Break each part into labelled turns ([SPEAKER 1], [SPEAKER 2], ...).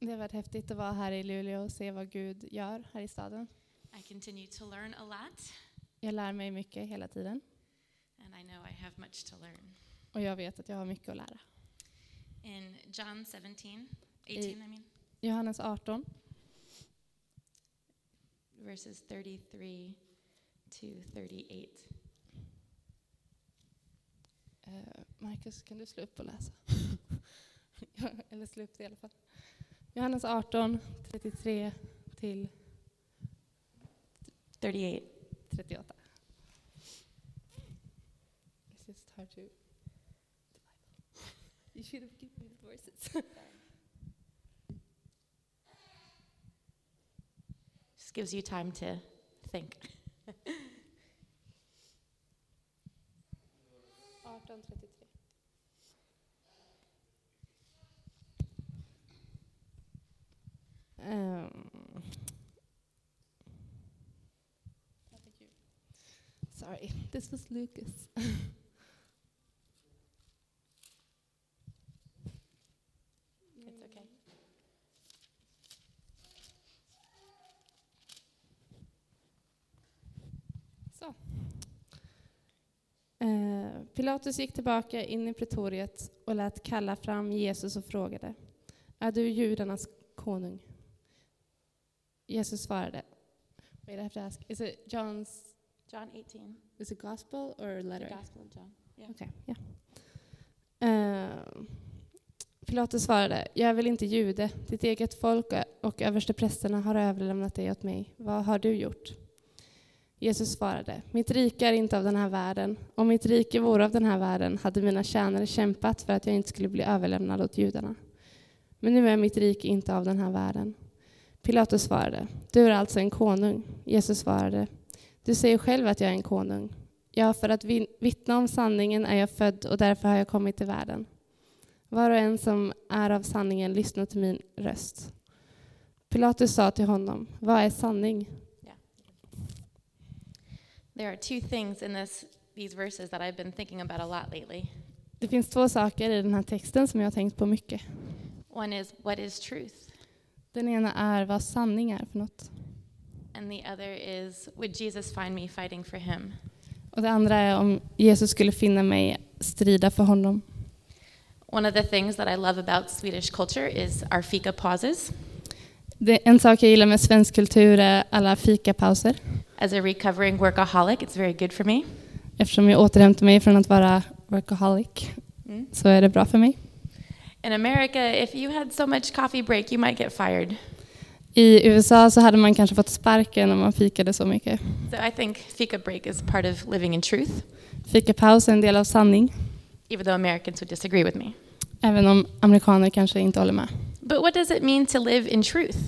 [SPEAKER 1] Det har varit häftigt att vara här i Luleå och se vad Gud gör här i staden.
[SPEAKER 2] I continue to learn a lot,
[SPEAKER 1] Jag lär mig mycket hela tiden
[SPEAKER 2] and I know I have much to learn.
[SPEAKER 1] och jag vet att jag har mycket att lära.
[SPEAKER 2] In John 17, 18, I mean,
[SPEAKER 1] Johannes 18,
[SPEAKER 2] verses 33 to 38.
[SPEAKER 1] Eh, Marcus, kan du slå upp och läsa? Ja, Eller slå upp det i alla fall. Johannes 18, 33 till
[SPEAKER 2] 38.
[SPEAKER 1] 38. It's just hard to... You should have given me the verses.
[SPEAKER 2] Just gives you time to think.
[SPEAKER 1] 18, 33. Ehm. Sorry, this was Lucas.
[SPEAKER 2] It's okay.
[SPEAKER 1] Så. Eh, Pilatus gick tillbaka in i pretoriet och lät kalla fram Jesus och frågade, är du judarnas konung? Jesus svarade, wait I have to ask, is it John's,
[SPEAKER 2] John 18,
[SPEAKER 1] is it gospel or
[SPEAKER 2] the
[SPEAKER 1] letter?
[SPEAKER 2] Gospel of John. Yeah.
[SPEAKER 1] Okej, ja. Ehm, Pilatus svarade, jag är väl inte jude, ditt eget folk och översteprästerna har överlämnat dig åt mig, vad har du gjort? Jesus svarade, mitt rike är inte av den här världen, om mitt rike vore av den här världen hade mina tjänare kämpat för att jag inte skulle bli överlämnad åt judarna. Men nu är mitt rike inte av den här världen. Pilatus svarade, du är alltså en konung. Jesus svarade, du säger själv att jag är en konung. Ja, för att vin- vittna om sanningen är jag född och därför har jag kommit till världen. Var och en som är av sanningen lyssnar till min röst. Pilatus sa till honom, vad är sanning?
[SPEAKER 2] There are two things in this these verses that I've been thinking about a lot lately.
[SPEAKER 1] Det finns två saker i den här texten som jag har tänkt på mycket.
[SPEAKER 2] One is what is truth,
[SPEAKER 1] Den ena är vad sanning är för något.
[SPEAKER 2] and the other is would Jesus find me fighting for him?
[SPEAKER 1] Och det andra är om Jesus skulle finna mig strida för honom.
[SPEAKER 2] One of the things that I love about Swedish culture is our fika pauses.
[SPEAKER 1] Det, en sak jag gillar med svensk kultur är alla fikapauser.
[SPEAKER 2] As a recovering workaholic, it's very good for me.
[SPEAKER 1] Eftersom jag återhämtar mig från att vara workaholic så är det bra för mig.
[SPEAKER 2] Mm-hmm. In America, if you had so much coffee break, you might get fired.
[SPEAKER 1] I USA så hade man kanske fått sparken om man fikade så mycket.
[SPEAKER 2] So I think fika break is part of living in truth,
[SPEAKER 1] Fikapaus är en del av sanning,
[SPEAKER 2] even though Americans would disagree with me.
[SPEAKER 1] även om amerikaner kanske inte håller med.
[SPEAKER 2] But what does it mean to live in truth?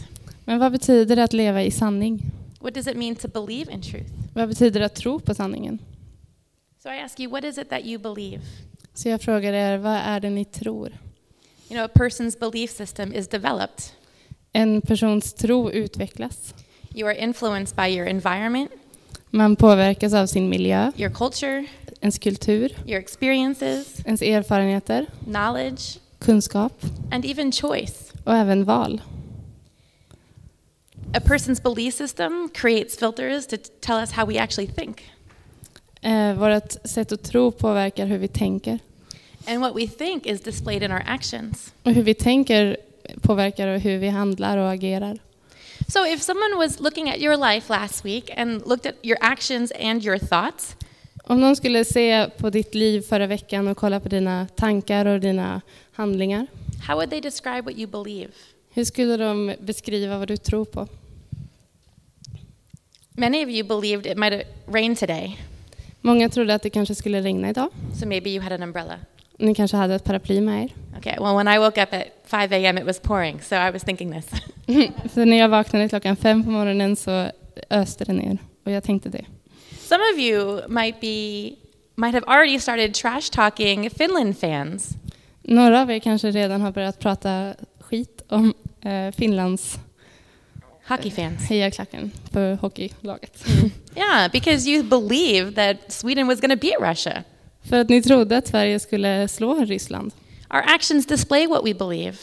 [SPEAKER 1] Men vad betyder det att leva i sanning?
[SPEAKER 2] What does it mean to believe in truth?
[SPEAKER 1] Vad betyder det att tro på sanningen?
[SPEAKER 2] So I ask you, what is it that you believe?
[SPEAKER 1] Så jag frågar er, vad är det ni tror?
[SPEAKER 2] You know, a person's belief system is developed.
[SPEAKER 1] En persons tro utvecklas.
[SPEAKER 2] You are influenced by your environment,
[SPEAKER 1] Man påverkas av sin miljö,
[SPEAKER 2] your culture,
[SPEAKER 1] ens kultur,
[SPEAKER 2] your experiences,
[SPEAKER 1] ens erfarenheter,
[SPEAKER 2] knowledge,
[SPEAKER 1] kunskap
[SPEAKER 2] and even choice.
[SPEAKER 1] och även val.
[SPEAKER 2] A person's belief system creates filters to t- tell us how we actually think.
[SPEAKER 1] Eh, vårt sätt att tro påverkar hur vi tänker.
[SPEAKER 2] And what we think is displayed in our actions.
[SPEAKER 1] Och hur vi tänker påverkar hur vi handlar och agerar.
[SPEAKER 2] So if someone was looking at your life last week and looked at your actions and your thoughts,
[SPEAKER 1] Om någon skulle se på ditt liv förra veckan och kolla på dina tankar och dina handlingar,
[SPEAKER 2] how would they describe what you believe?
[SPEAKER 1] hur skulle de beskriva vad du tror på?
[SPEAKER 2] Many of you believed it might rain today,
[SPEAKER 1] Många trodde att det kanske skulle regna idag.
[SPEAKER 2] so maybe you had an umbrella.
[SPEAKER 1] Ni kanske hade ett paraply med er.
[SPEAKER 2] Okay, well, when I woke up at 5 a.m., it was pouring, so I was thinking this.
[SPEAKER 1] Så när jag vaknade klockan fem på morgonen så öste det ner och jag tänkte det.
[SPEAKER 2] Some of you might be might have already started trash talking Finland fans.
[SPEAKER 1] Några av er kanske redan har börjat prata skit om eh, Finlands
[SPEAKER 2] Hockey fans.
[SPEAKER 1] hejarklacken för hockeylaget.
[SPEAKER 2] Yeah, because you believe that Sweden was going to beat Russia.
[SPEAKER 1] För att ni trodde att Sverige skulle slå Ryssland.
[SPEAKER 2] Our actions display what we believe.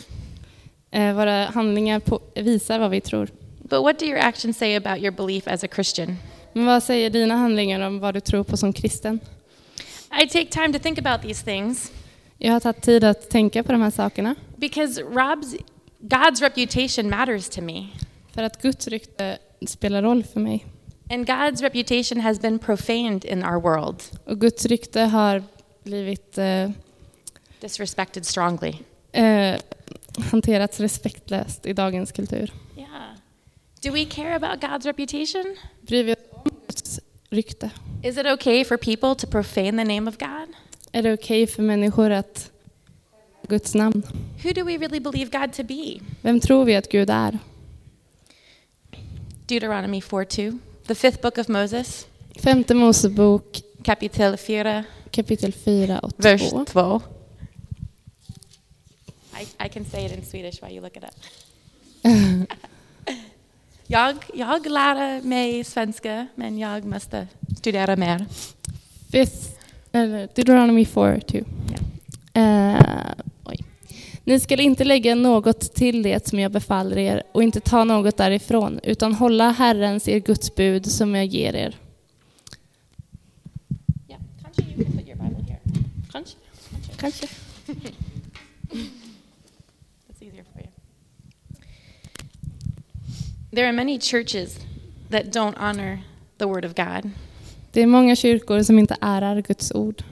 [SPEAKER 1] Eh, Våra handlingar på, visar vad vi tror.
[SPEAKER 2] But what do your actions say about your belief as a Christian?
[SPEAKER 1] Men vad säger dina handlingar om vad du tror på som kristen?
[SPEAKER 2] I take time to think about these things
[SPEAKER 1] Jag har tagit tid att tänka på de här sakerna.
[SPEAKER 2] because Rob's, God's reputation matters to me.
[SPEAKER 1] För att Guds rykte spelar roll för mig.
[SPEAKER 2] And God's reputation has been profaned in our world,
[SPEAKER 1] Och Guds rykte har blivit eh,
[SPEAKER 2] disrespected strongly.
[SPEAKER 1] eh, hanterats respektlöst i dagens kultur.
[SPEAKER 2] Yeah. Do we care about God's reputation?
[SPEAKER 1] Bryr vi oss om Guds rykte?
[SPEAKER 2] Is it okay for people to profane the name of God?
[SPEAKER 1] Är det okej för människor att Guds namn?
[SPEAKER 2] Who do we really believe God to be?
[SPEAKER 1] Vem tror vi att Gud är?
[SPEAKER 2] Deuteronomy 4 2, the fifth book of Moses,
[SPEAKER 1] Femte Mosebok
[SPEAKER 2] Kapitel 4,
[SPEAKER 1] kapitel 4 och 2.
[SPEAKER 2] vers 2. I, I can say it in Swedish while you look it up. jag, jag lärde mig svenska, men jag måste studera mer.
[SPEAKER 1] Fifth, eller Deuteronomy 4, 2.
[SPEAKER 2] Ja.
[SPEAKER 1] Eh, oj. Ni skall inte lägga något till det som jag befaller er och inte ta något därifrån, utan hålla Herrens, er Guds bud, som jag ger er.
[SPEAKER 2] Yeah, Kanchi, you can put your Bible here. Kanchi? Kanchi.
[SPEAKER 1] Kanske.
[SPEAKER 2] That's easier for you. There are many churches that don't honor the Word of God.
[SPEAKER 1] Det är många kyrkor som inte ärar Guds ord.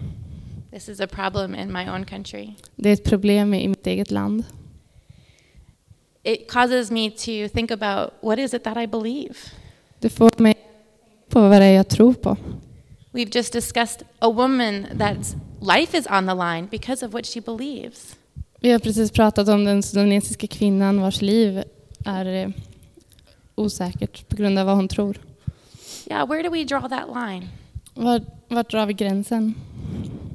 [SPEAKER 2] This is a problem in my own country.
[SPEAKER 1] Det är ett problem i mitt eget land.
[SPEAKER 2] It causes me to think about what is it that I believe?
[SPEAKER 1] Det får mig på vad det är jag tror på.
[SPEAKER 2] We've just discussed a woman that's life is on the line because of what she believes.
[SPEAKER 1] Vi har precis pratat om den sudanesiska kvinnan vars liv är eh, osäkert på grund av vad hon tror.
[SPEAKER 2] Yeah, where do we draw that line?
[SPEAKER 1] Var, vart drar vi gränsen?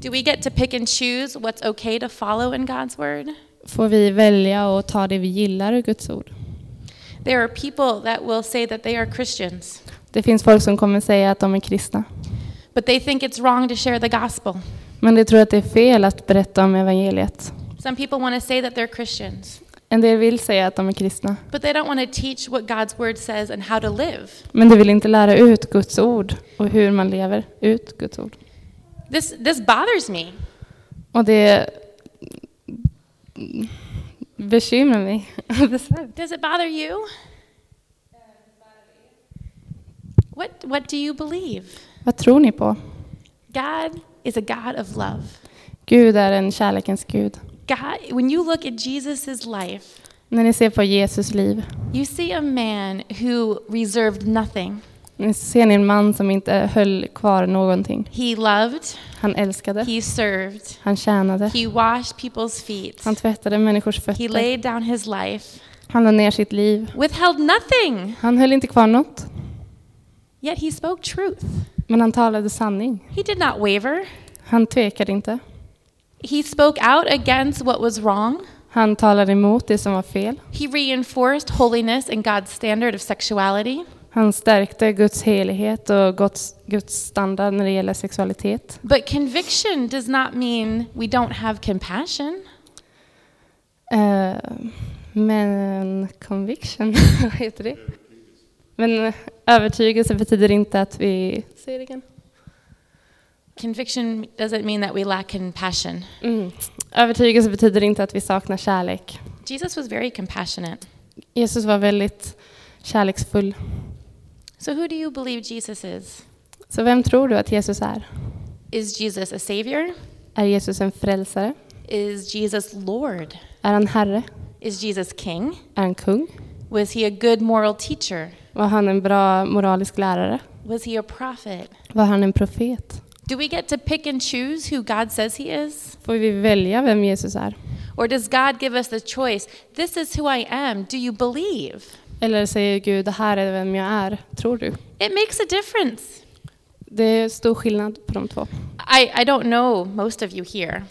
[SPEAKER 2] Do we get to pick and choose what's okay to follow in God's Word?
[SPEAKER 1] Får vi välja och ta det vi gillar ur Guds ord?
[SPEAKER 2] There are people that will say that they are Christians,
[SPEAKER 1] Det finns folk som kommer säga att de är kristna.
[SPEAKER 2] but they think it's wrong to share the gospel.
[SPEAKER 1] Men de tror att det är fel att berätta om evangeliet.
[SPEAKER 2] Some people want to say that they're Christians,
[SPEAKER 1] En del vill säga att de är kristna,
[SPEAKER 2] but they don't want to teach what God's word says and how to live.
[SPEAKER 1] men de vill inte lära ut Guds ord och hur man lever ut Guds ord.
[SPEAKER 2] This this bothers me
[SPEAKER 1] Och det bekymrar mig. Besvär.
[SPEAKER 2] Does it bother you? What, what do you believe?
[SPEAKER 1] Vad tror ni på?
[SPEAKER 2] God is a God of love.
[SPEAKER 1] Gud är en kärlekens Gud.
[SPEAKER 2] God, when you look at Jesus' life,
[SPEAKER 1] När ni ser på Jesus liv,
[SPEAKER 2] you see a man who reserved nothing.
[SPEAKER 1] ni ser ni en man som inte höll kvar någonting.
[SPEAKER 2] He loved,
[SPEAKER 1] Han älskade,
[SPEAKER 2] he served,
[SPEAKER 1] han tjänade,
[SPEAKER 2] he washed people's feet,
[SPEAKER 1] han tvättade människors
[SPEAKER 2] he
[SPEAKER 1] fötter,
[SPEAKER 2] laid down his life,
[SPEAKER 1] han la ner sitt liv.
[SPEAKER 2] withheld nothing,
[SPEAKER 1] Han höll inte kvar något,
[SPEAKER 2] yet he spoke truth.
[SPEAKER 1] men han talade sanning.
[SPEAKER 2] He did not waver.
[SPEAKER 1] Han tvekade inte.
[SPEAKER 2] He spoke out against what was wrong.
[SPEAKER 1] Han talade emot det som var fel.
[SPEAKER 2] He reinforced holiness and God's standard of sexuality.
[SPEAKER 1] Han stärkte Guds helighet och Guds, Guds standard när det gäller sexualitet.
[SPEAKER 2] But conviction does not mean we don't have compassion.
[SPEAKER 1] Eh, men conviction, vad heter det? Men övertygelse betyder inte att vi... Säg det igen.
[SPEAKER 2] Conviction doesn't mean that we lack compassion.
[SPEAKER 1] Mm. Övertygelse betyder inte att vi saknar kärlek.
[SPEAKER 2] Jesus was very compassionate.
[SPEAKER 1] Jesus var väldigt kärleksfull.
[SPEAKER 2] So, who do you believe Jesus is?
[SPEAKER 1] Så vem tror du att Jesus är?
[SPEAKER 2] Is Jesus a savior?
[SPEAKER 1] Är Jesus en frälsare?
[SPEAKER 2] Is Jesus Lord?
[SPEAKER 1] Är han herre?
[SPEAKER 2] Is Jesus king?
[SPEAKER 1] Är han kung?
[SPEAKER 2] Was he a good moral teacher?
[SPEAKER 1] Var han en bra moralisk lärare?
[SPEAKER 2] Was he a prophet?
[SPEAKER 1] Var han en profet?
[SPEAKER 2] Do we get to pick and choose who God says he is?
[SPEAKER 1] Får vi välja vem Jesus är?
[SPEAKER 2] Or does God give us the choice? This is who I am. Do you believe?
[SPEAKER 1] Eller säger Gud, det här är vem jag är, tror du?
[SPEAKER 2] It makes a difference.
[SPEAKER 1] Det är stor skillnad på de två.
[SPEAKER 2] I, I don't know most of you here.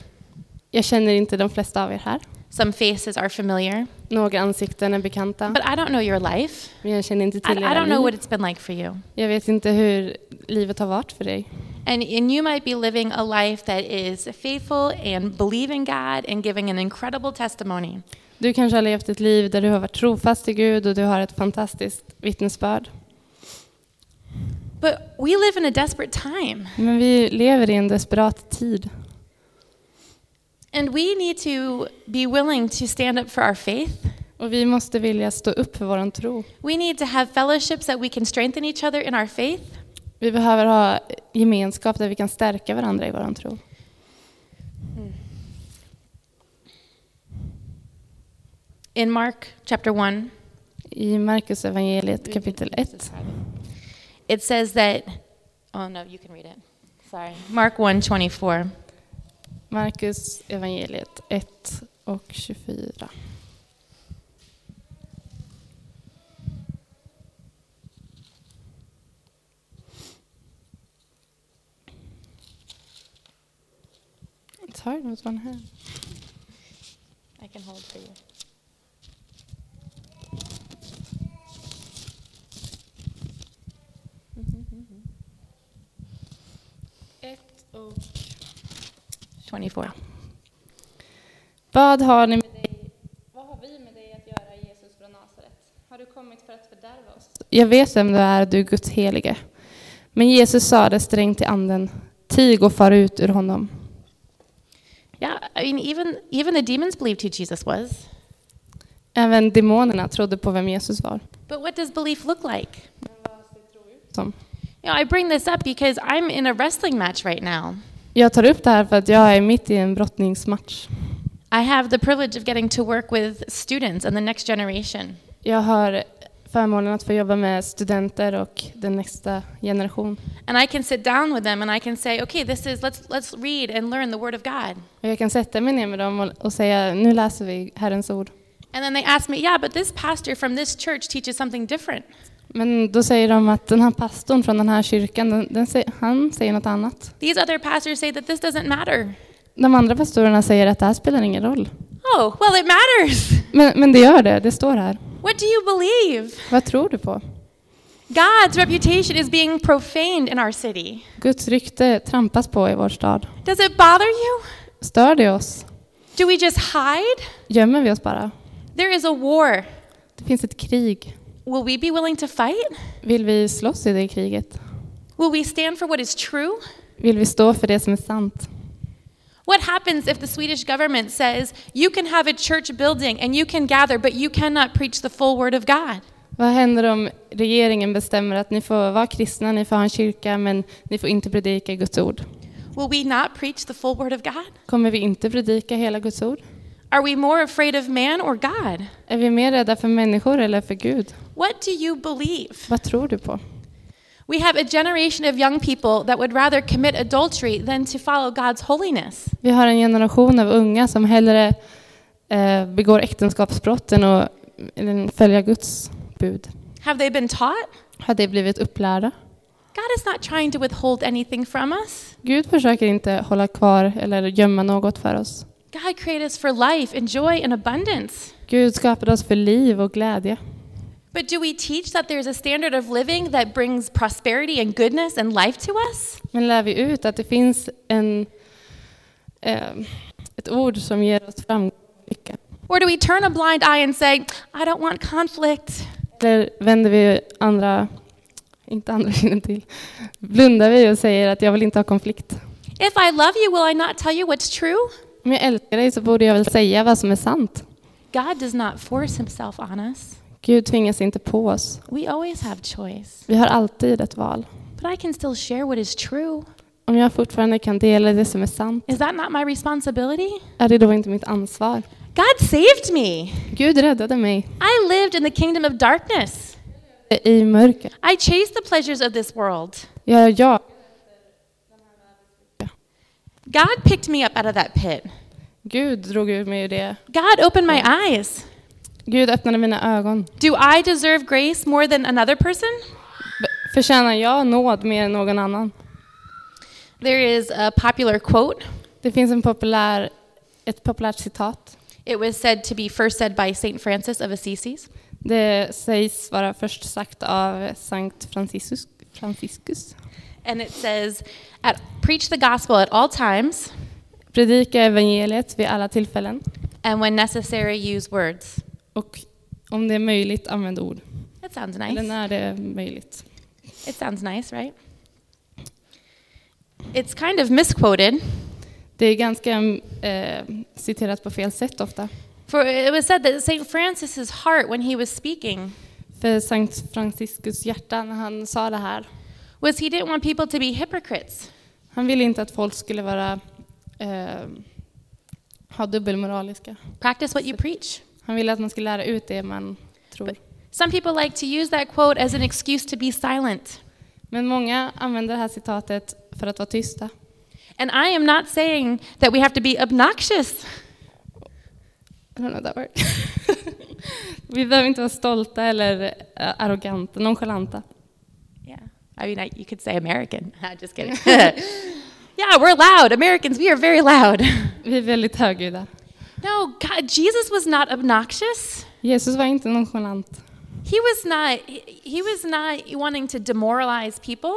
[SPEAKER 1] Jag känner inte de flesta av er här.
[SPEAKER 2] Some faces are familiar,
[SPEAKER 1] Några ansikten är bekanta,
[SPEAKER 2] but I don't know your life.
[SPEAKER 1] men jag känner inte
[SPEAKER 2] I,
[SPEAKER 1] till
[SPEAKER 2] I
[SPEAKER 1] era
[SPEAKER 2] don't know what
[SPEAKER 1] liv.
[SPEAKER 2] it's been like for you.
[SPEAKER 1] Jag vet inte hur livet har varit för dig.
[SPEAKER 2] And, and you might be living a life that is faithful and believing God and giving an incredible testimony.
[SPEAKER 1] Du kanske har levt ett liv där du har varit trofast till Gud och du har ett fantastiskt vittnesbörd.
[SPEAKER 2] But we live in a desperate time,
[SPEAKER 1] Men vi lever i en desperat tid
[SPEAKER 2] and we need to be willing to stand up for our faith.
[SPEAKER 1] och vi måste vilja stå upp för vår tro.
[SPEAKER 2] We need to have fellowships that we can strengthen each other in our faith.
[SPEAKER 1] Vi behöver ha gemenskap där vi kan stärka varandra i vår tro.
[SPEAKER 2] In Mark chapter 1,
[SPEAKER 1] I Markus evangeliet kapitel 1.
[SPEAKER 2] it says that Oh no, you can read it. Sorry. Mark 1:24.
[SPEAKER 1] Markus evangeliet 1 och 24. It's hard with one hand.
[SPEAKER 2] I can hold for you.
[SPEAKER 1] och
[SPEAKER 2] 24.
[SPEAKER 1] Vad har ni med dig? Vad har vi med dig att göra, Jesus från Nasaret? Har du kommit för att fördärva oss? Jag vet vem du är, du Guds helige. Men Jesus sade strängt till anden, tig och far ut ur honom.
[SPEAKER 2] Yeah, I mean even even the demons believed who Jesus was.
[SPEAKER 1] Även demonerna trodde på vem Jesus var.
[SPEAKER 2] But what does belief look like?
[SPEAKER 1] Som.
[SPEAKER 2] You know, I bring this up because I'm in a wrestling match right now.
[SPEAKER 1] Jag tar upp det här för att jag är mitt i en brottningsmatch.
[SPEAKER 2] I have the privilege of getting to work with students and the next generation.
[SPEAKER 1] Jag har förmånen att få jobba med studenter och den nästa generation.
[SPEAKER 2] And I can sit down with them and I can say, okay, this is let's let's read and learn the word of God.
[SPEAKER 1] Och jag kan sätta mig ner med dem och, och säga, nu läser vi Herrens ord.
[SPEAKER 2] And then they ask me, yeah, but this pastor from this church teaches something different.
[SPEAKER 1] Men då säger de att den här pastorn från den här kyrkan, den, den, sä- han säger något annat.
[SPEAKER 2] These other pastors say that this doesn't matter.
[SPEAKER 1] De andra pastorerna säger att det här spelar ingen roll.
[SPEAKER 2] Oh, well, it matters.
[SPEAKER 1] Men, men det gör det, det står här.
[SPEAKER 2] What do you believe?
[SPEAKER 1] Vad tror du på?
[SPEAKER 2] God's reputation is being profaned in our city.
[SPEAKER 1] Guds rykte trampas på i vår stad.
[SPEAKER 2] Does it bother you?
[SPEAKER 1] Stör det oss?
[SPEAKER 2] Do we just hide?
[SPEAKER 1] Gömmer vi oss bara?
[SPEAKER 2] There is a war.
[SPEAKER 1] Det finns ett krig.
[SPEAKER 2] Will we be willing to fight?
[SPEAKER 1] Vill vi slåss i det kriget?
[SPEAKER 2] Will we stand for what is true?
[SPEAKER 1] Vill vi stå för det som är sant?
[SPEAKER 2] What happens if the Swedish government says you can have a church building and you can gather, but you cannot preach the full word of God?
[SPEAKER 1] Vad händer om regeringen bestämmer att ni får vara kristna, ni får ha en kyrka, men ni får inte predika Guds ord?
[SPEAKER 2] Will we not preach the full word of God?
[SPEAKER 1] Kommer vi inte predika hela Guds ord?
[SPEAKER 2] Are we more afraid of man or God?
[SPEAKER 1] Är vi mer rädda för människor eller för Gud?
[SPEAKER 2] What do you believe?
[SPEAKER 1] Vad tror du på?
[SPEAKER 2] We have a generation of young people that would rather commit adultery than to follow God's holiness.
[SPEAKER 1] Vi har en generation av unga som hellre eh, begår äktenskapsbrotten och eller, följer Guds bud.
[SPEAKER 2] Have they been taught?
[SPEAKER 1] Har det blivit upplärda?
[SPEAKER 2] God is not trying to withhold anything from us.
[SPEAKER 1] Gud försöker inte hålla kvar eller gömma något för oss.
[SPEAKER 2] God created us for life and joy and abundance.
[SPEAKER 1] Gud skapade oss för liv och glädje.
[SPEAKER 2] But do we teach that there's a standard of living that brings prosperity and goodness and life to us?
[SPEAKER 1] Men lär vi ut att det finns en, eh, ett ord som ger oss framgång och lycka?
[SPEAKER 2] Or do we turn a blind eye and say, I don't want conflict?
[SPEAKER 1] Eller vänder vi andra, inte andra kinden till, blundar vi och säger att jag vill inte ha konflikt?
[SPEAKER 2] If I love you, will I not tell you what's true?
[SPEAKER 1] Om jag älskar dig så borde jag väl säga vad som är sant.
[SPEAKER 2] God does not force himself on us.
[SPEAKER 1] Gud tvingas inte på oss.
[SPEAKER 2] We always have choice.
[SPEAKER 1] Vi har alltid ett val.
[SPEAKER 2] But I can still share what is true.
[SPEAKER 1] Om jag fortfarande kan dela det som är sant,
[SPEAKER 2] Is that not my responsibility?
[SPEAKER 1] är det då inte mitt ansvar?
[SPEAKER 2] God saved me.
[SPEAKER 1] Gud räddade mig
[SPEAKER 2] I lived in the kingdom of darkness.
[SPEAKER 1] i mörker.
[SPEAKER 2] I chased the pleasures of this world.
[SPEAKER 1] Jag, jag,
[SPEAKER 2] God picked me up out of that pit.
[SPEAKER 1] Gud drog ur mig ur det.
[SPEAKER 2] God opened my eyes.
[SPEAKER 1] Gud öppnade mina ögon.
[SPEAKER 2] Do I deserve grace more than another person?
[SPEAKER 1] B- Förtjänar jag nåd mer än någon annan?
[SPEAKER 2] There is a popular quote.
[SPEAKER 1] Det finns en populär, ett populärt citat.
[SPEAKER 2] It was said to be first said by St. Francis of Assisi.
[SPEAKER 1] Det sägs vara först sagt av Sankt Franciscus. Franciscus.
[SPEAKER 2] And it says, at, Preach the gospel at all times,
[SPEAKER 1] Predika evangeliet vid alla tillfällen.
[SPEAKER 2] and when necessary, use words.
[SPEAKER 1] Och om det är möjligt, använd ord.
[SPEAKER 2] That sounds
[SPEAKER 1] Eller
[SPEAKER 2] nice.
[SPEAKER 1] när det är möjligt.
[SPEAKER 2] It sounds nice, right? It's kind of misquoted.
[SPEAKER 1] Det är ganska eh, citerat på fel sätt ofta.
[SPEAKER 2] For it was said that St. Francis's heart, when he was speaking,
[SPEAKER 1] För Sankt Franciscus hjärta, när han sa det här,
[SPEAKER 2] was he didn't want people to be hypocrites.
[SPEAKER 1] han ville inte att folk skulle vara, eh, ha dubbelmoraliska.
[SPEAKER 2] Practice what you preach.
[SPEAKER 1] Han ville att man skulle lära ut det man tror.
[SPEAKER 2] Some people like to use that quote as an excuse to be silent.
[SPEAKER 1] Men många använder det här citatet för att vara tysta.
[SPEAKER 2] And I am not saying that we have to be obnoxious.
[SPEAKER 1] I don't know that word. Vi behöver inte vara stolta eller eh, arroganta, nonchalanta.
[SPEAKER 2] Yeah. I mean, I, you could say American. Just kidding. yeah, we're loud. Americans, we are very loud.
[SPEAKER 1] Vi är väldigt högljudda.
[SPEAKER 2] No, God, Jesus was not obnoxious.
[SPEAKER 1] Jesus var inte nonchalant.
[SPEAKER 2] He was not he, he was not wanting to demoralize people.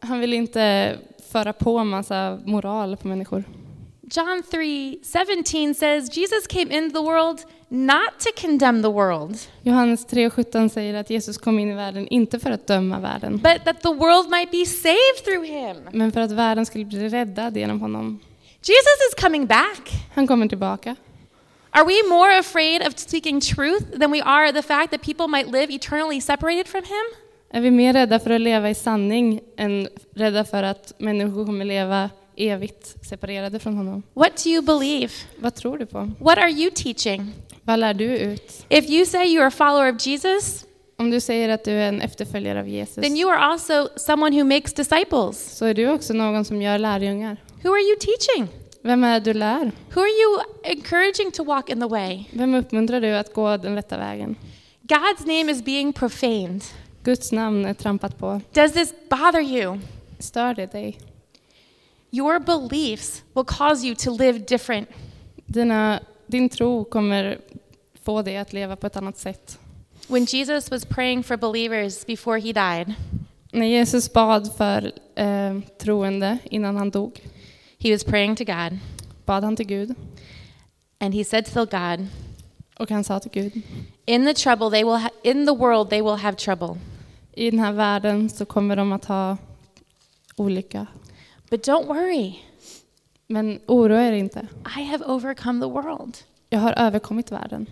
[SPEAKER 1] Han ville inte föra på en massa moral på människor.
[SPEAKER 2] John 3:17 says Jesus came into the world not to condemn the world,
[SPEAKER 1] Johannes 3.17 säger att Jesus kom in i världen inte för att döma världen,
[SPEAKER 2] but that the world might be saved through him.
[SPEAKER 1] men för att världen skulle bli räddad genom honom.
[SPEAKER 2] Jesus is coming back.
[SPEAKER 1] Han kommer tillbaka.
[SPEAKER 2] Are we more afraid of speaking truth than we are the fact that people might live eternally separated from him?
[SPEAKER 1] Är vi mer rädda för att leva i sanning än rädda för att människor kommer leva evigt separerade från honom?
[SPEAKER 2] What do you believe?
[SPEAKER 1] Vad tror du på?
[SPEAKER 2] What are you teaching?
[SPEAKER 1] Vad lär du ut?
[SPEAKER 2] If you say you're a follower of Jesus,
[SPEAKER 1] Om du säger att du är en efterföljare av Jesus,
[SPEAKER 2] then you are also someone who makes disciples.
[SPEAKER 1] så är du också någon som gör lärjungar.
[SPEAKER 2] Who are you teaching?
[SPEAKER 1] Vem är det du lär?
[SPEAKER 2] Who are you encouraging to walk in the way?
[SPEAKER 1] Vem uppmuntrar du att gå den rätta vägen?
[SPEAKER 2] God's name is being profaned.
[SPEAKER 1] Guds namn är trampat på.
[SPEAKER 2] Does this bother you?
[SPEAKER 1] Stör det dig?
[SPEAKER 2] Your beliefs will cause you to live different.
[SPEAKER 1] Dina, din tro kommer få dig att leva på ett annat sätt.
[SPEAKER 2] When Jesus was praying for believers before he died,
[SPEAKER 1] När Jesus bad för eh, troende innan han dog,
[SPEAKER 2] he was praying to God,
[SPEAKER 1] bad han till Gud.
[SPEAKER 2] and he said to God,
[SPEAKER 1] Och han sa till Gud,
[SPEAKER 2] "In the trouble they will ha- in the world they will have trouble,
[SPEAKER 1] i den här världen så kommer de att ha olycka.
[SPEAKER 2] but don't worry,
[SPEAKER 1] Men oroa er inte,
[SPEAKER 2] I have overcome the world."
[SPEAKER 1] jag har överkommit världen.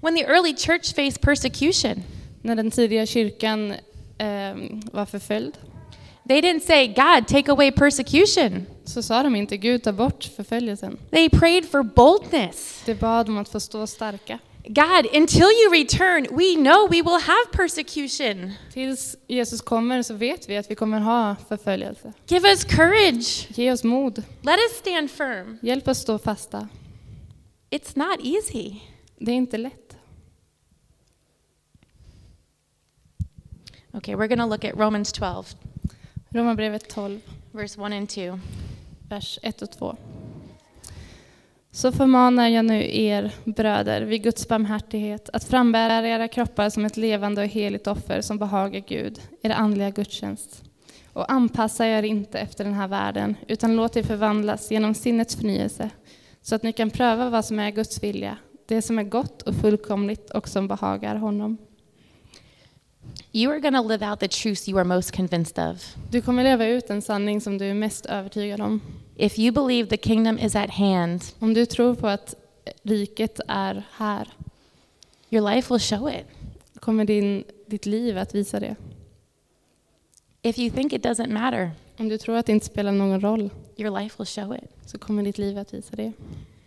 [SPEAKER 2] When the early church faced persecution,
[SPEAKER 1] När den tidiga kyrkan eh, var förföljd
[SPEAKER 2] they didn't say, "God, take away persecution."
[SPEAKER 1] så sa de inte Gud ta bort förföljelsen.
[SPEAKER 2] They prayed for boldness.
[SPEAKER 1] De bad om att få stå starka.
[SPEAKER 2] God, until you return, we know we will have persecution.
[SPEAKER 1] Tills Jesus kommer så vet vi att vi kommer ha förföljelse.
[SPEAKER 2] Give us courage.
[SPEAKER 1] Ge oss mod,
[SPEAKER 2] Let us stand firm.
[SPEAKER 1] hjälp oss stå fasta.
[SPEAKER 2] It's not easy.
[SPEAKER 1] Det är inte lätt.
[SPEAKER 2] Okay, we're going to look at Romans 12,
[SPEAKER 1] Romarbrevet 12,
[SPEAKER 2] verse 1 and 2.
[SPEAKER 1] vers 1 och 2. Så förmanar jag nu er bröder vid Guds barmhärtighet att frambära era kroppar som ett levande och heligt offer som behagar Gud, er andliga gudstjänst. Och anpassa er inte efter den här världen, utan låt er förvandlas genom sinnets förnyelse, så att ni kan pröva vad som är Guds vilja, det som är gott och fullkomligt och som behagar honom.
[SPEAKER 2] You are going to live out the truths you are most convinced of.
[SPEAKER 1] Du kommer leva ut en sanning som du är mest övertygad om.
[SPEAKER 2] If you believe the kingdom is at hand,
[SPEAKER 1] Om du tror på att riket är här,
[SPEAKER 2] your life will show it.
[SPEAKER 1] kommer din, ditt liv att visa det.
[SPEAKER 2] If you think it doesn't matter,
[SPEAKER 1] Om du tror att det inte spelar någon roll
[SPEAKER 2] your life will show it.
[SPEAKER 1] så kommer ditt liv att visa det.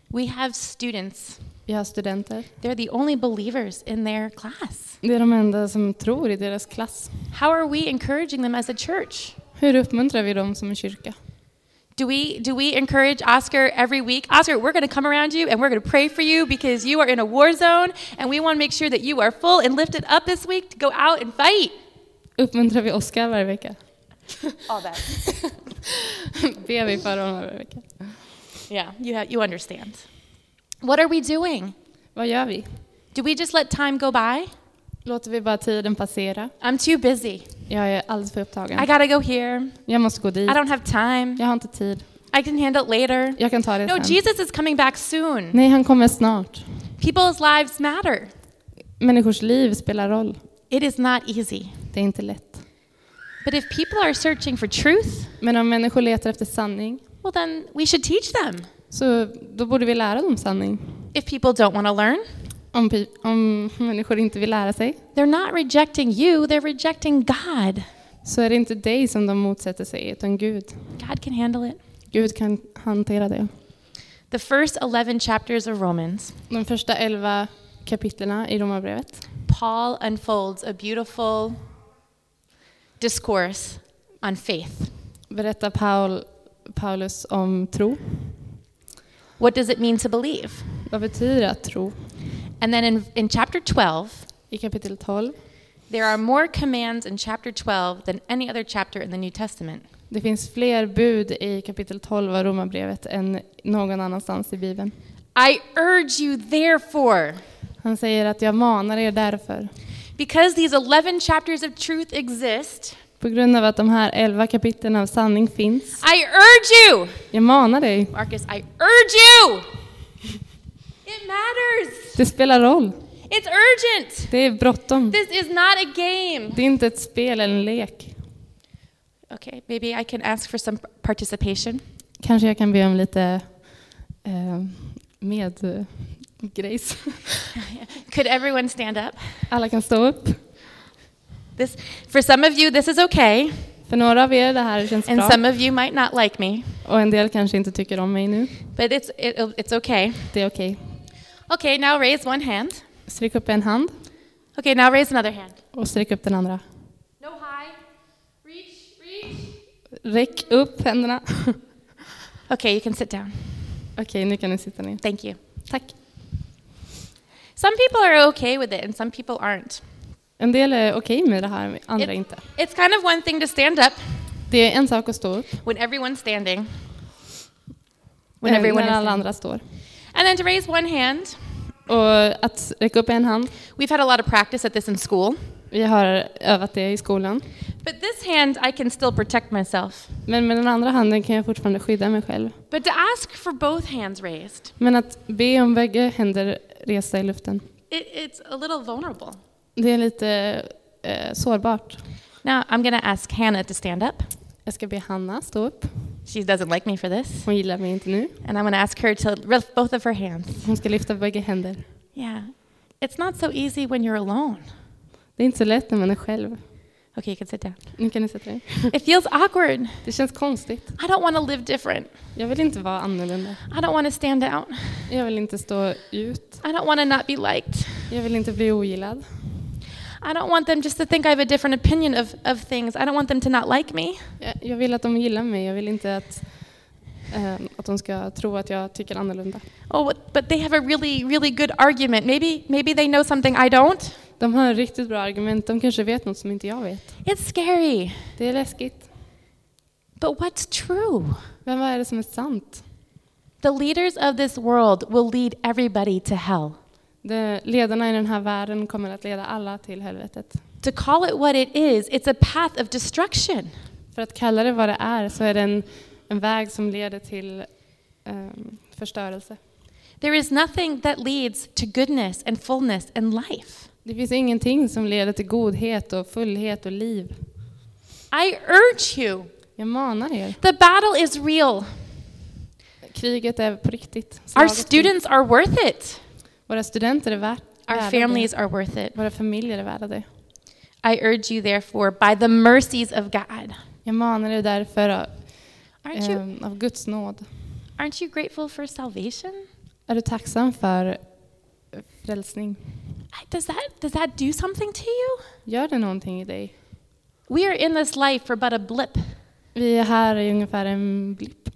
[SPEAKER 2] We have students,
[SPEAKER 1] Vi har studenter.
[SPEAKER 2] they're the only believers in their class.
[SPEAKER 1] Det är de enda som tror i deras klass.
[SPEAKER 2] How are we encouraging them as a church?
[SPEAKER 1] Hur uppmuntrar vi dem som en kyrka?
[SPEAKER 2] Do we do we encourage Oscar every week? Oscar, we're going to come around you and we're going to pray for you because you are in a war zone and we want to make sure that you are full and lifted up this week to go out and fight.
[SPEAKER 1] Uppmuntrar vi Oskar varje vecka?
[SPEAKER 2] All that.
[SPEAKER 1] Ber vi för honom varje vecka?
[SPEAKER 2] Yeah, you have, you understand. What are we doing?
[SPEAKER 1] Vad gör vi?
[SPEAKER 2] Do we just let time go by?
[SPEAKER 1] Låter vi bara tiden passera?
[SPEAKER 2] I'm too busy.
[SPEAKER 1] Jag är alldeles för
[SPEAKER 2] I
[SPEAKER 1] upptagen.
[SPEAKER 2] got to go here.
[SPEAKER 1] Jag måste gå dit.
[SPEAKER 2] I don't have time.
[SPEAKER 1] Jag har inte tid.
[SPEAKER 2] I can handle it later.
[SPEAKER 1] Jag kan ta det
[SPEAKER 2] No,
[SPEAKER 1] sen.
[SPEAKER 2] Jesus is coming back soon.
[SPEAKER 1] Nej, han kommer snart.
[SPEAKER 2] People's lives matter.
[SPEAKER 1] Människors liv spelar roll.
[SPEAKER 2] It is not easy.
[SPEAKER 1] Det är inte lätt.
[SPEAKER 2] But if people are searching for truth,
[SPEAKER 1] Men om människor letar efter sanning,
[SPEAKER 2] well, then we should teach them.
[SPEAKER 1] så då borde vi lära dem sanning.
[SPEAKER 2] If people don't want to learn,
[SPEAKER 1] Om, pi- om människor inte vill lära sig,
[SPEAKER 2] they're not rejecting you, they're rejecting God.
[SPEAKER 1] så är det inte dig som de motsätter sig, utan Gud.
[SPEAKER 2] God can handle it.
[SPEAKER 1] Gud kan hantera det.
[SPEAKER 2] The first 11 chapters of Romans,
[SPEAKER 1] De första elva kapitlerna i Romarbrevet
[SPEAKER 2] Paul unfolds a beautiful discourse on faith.
[SPEAKER 1] berättar Paul, Paulus om tro.
[SPEAKER 2] What does it mean to believe?
[SPEAKER 1] Vad betyder det att tro?
[SPEAKER 2] And then in, in chapter 12,
[SPEAKER 1] I kapitel 12.
[SPEAKER 2] there are more commands in chapter 12 than any other chapter in the New Testament.
[SPEAKER 1] Det finns fler bud i kapitel 12 av Romarbrevet än någon annanstans i Bibeln.
[SPEAKER 2] I urge you, therefore,
[SPEAKER 1] Han säger att jag manar er därför.
[SPEAKER 2] because these 11 chapters of truth exist,
[SPEAKER 1] På grund av att de här elva kapitlen av sanning finns.
[SPEAKER 2] I urge you.
[SPEAKER 1] Jag manar dig.
[SPEAKER 2] Marcus, I urge you! It matters!
[SPEAKER 1] Det spelar roll.
[SPEAKER 2] It's urgent!
[SPEAKER 1] Det är bråttom.
[SPEAKER 2] This is not a game!
[SPEAKER 1] Det är inte ett spel eller en lek.
[SPEAKER 2] Okay, maybe I can ask for some participation.
[SPEAKER 1] Kanske jag kan be om lite eh, med eh, grejs.
[SPEAKER 2] Could everyone stand up? Uh,
[SPEAKER 1] Alla kan stå upp.
[SPEAKER 2] This, for some of you, this is okay,
[SPEAKER 1] För några av er det här känns
[SPEAKER 2] and
[SPEAKER 1] bra.
[SPEAKER 2] some of you might not like me,
[SPEAKER 1] Och en del kanske inte tycker om mig nu.
[SPEAKER 2] but it's, it, it's okay.
[SPEAKER 1] Det är okej.
[SPEAKER 2] Okay, now raise one hand.
[SPEAKER 1] Sträck upp en hand
[SPEAKER 2] Okay, now raise another hand.
[SPEAKER 1] och sträck upp den andra.
[SPEAKER 2] No high. Reach, reach.
[SPEAKER 1] Räck upp händerna.
[SPEAKER 2] Okay, you can sit down.
[SPEAKER 1] Okej, nu kan ni sitta ner.
[SPEAKER 2] Thank you.
[SPEAKER 1] Tack.
[SPEAKER 2] Some people are okay with it, and some people aren't.
[SPEAKER 1] En del är okej med det här, andra
[SPEAKER 2] It-
[SPEAKER 1] inte.
[SPEAKER 2] It's kind of one thing to stand up
[SPEAKER 1] Det är en sak att stå upp,
[SPEAKER 2] when everyone's standing. When
[SPEAKER 1] eh,
[SPEAKER 2] everyone
[SPEAKER 1] när
[SPEAKER 2] is
[SPEAKER 1] alla
[SPEAKER 2] standing.
[SPEAKER 1] andra står.
[SPEAKER 2] And then to raise one hand.
[SPEAKER 1] Och att räcka upp en hand,
[SPEAKER 2] We've had a lot of practice at this in school.
[SPEAKER 1] vi har övat det i skolan.
[SPEAKER 2] But this hand, I can still protect myself.
[SPEAKER 1] Men med den andra handen kan jag fortfarande skydda mig själv.
[SPEAKER 2] But to ask for both hands raised,
[SPEAKER 1] Men att be om bägge händer resa i luften,
[SPEAKER 2] it, it's a little vulnerable.
[SPEAKER 1] det är lite eh, sårbart.
[SPEAKER 2] Now, I'm going to ask Hannah to stand up.
[SPEAKER 1] Jag ska be Hanna stå upp.
[SPEAKER 2] She doesn't like me for this.
[SPEAKER 1] Hon gillar mig inte nu.
[SPEAKER 2] And I'm going to ask her to lift both of her hands.
[SPEAKER 1] Hon ska lyfta bägge händer.
[SPEAKER 2] Yeah. It's not so easy when you're alone.
[SPEAKER 1] Det är inte så lätt när man är själv.
[SPEAKER 2] Okay, you can sit down.
[SPEAKER 1] Nu kan ni sätta er.
[SPEAKER 2] It feels awkward.
[SPEAKER 1] Det känns konstigt.
[SPEAKER 2] I don't want to live different.
[SPEAKER 1] Jag vill inte vara annorlunda.
[SPEAKER 2] I don't want to stand out.
[SPEAKER 1] Jag vill inte stå ut.
[SPEAKER 2] I don't want to not be liked.
[SPEAKER 1] Jag vill inte bli ogillad.
[SPEAKER 2] I don't want them just to think I have a different opinion of, of things. I don't want them to not like me.
[SPEAKER 1] Jag, jag vill att de gillar mig. Jag vill inte att, ehm, att de ska tro att jag tycker annorlunda.
[SPEAKER 2] Oh, what- but they have a really, really good argument. Maybe, maybe they know something I don't.
[SPEAKER 1] De har riktigt bra argument. De kanske vet något som inte jag vet.
[SPEAKER 2] It's scary.
[SPEAKER 1] Det är läskigt.
[SPEAKER 2] But what's true?
[SPEAKER 1] Men vad är det som är sant?
[SPEAKER 2] The leaders of this world will lead everybody to hell.
[SPEAKER 1] Det, ledarna i den här världen kommer att leda alla till helvetet.
[SPEAKER 2] To call it what it is, it's a path of destruction.
[SPEAKER 1] För att kalla det vad det är så är det en, en väg som leder till ehm, förstörelse.
[SPEAKER 2] There is nothing that leads to goodness and fullness and life.
[SPEAKER 1] Det finns ingenting som leder till godhet och fullhet och liv.
[SPEAKER 2] I urge you.
[SPEAKER 1] Jag manar er.
[SPEAKER 2] The battle is real.
[SPEAKER 1] Kriget är på riktigt.
[SPEAKER 2] Our
[SPEAKER 1] Slaget-
[SPEAKER 2] students are worth it.
[SPEAKER 1] Våra studenter är värt
[SPEAKER 2] Our
[SPEAKER 1] värda
[SPEAKER 2] families are worth it.
[SPEAKER 1] det. Våra familjer är värda det.
[SPEAKER 2] I urge you, therefore, by the mercies of God. Um,
[SPEAKER 1] Jag manar er därför av,
[SPEAKER 2] Aren't you,
[SPEAKER 1] ehm, av Guds nåd.
[SPEAKER 2] aren't you grateful for salvation?
[SPEAKER 1] Är du tacksam för eh, frälsning?
[SPEAKER 2] Does that, does that do something to you?
[SPEAKER 1] Gör det någonting i dig?
[SPEAKER 2] We are in this life for but a blip.
[SPEAKER 1] Vi är här i ungefär en blipp.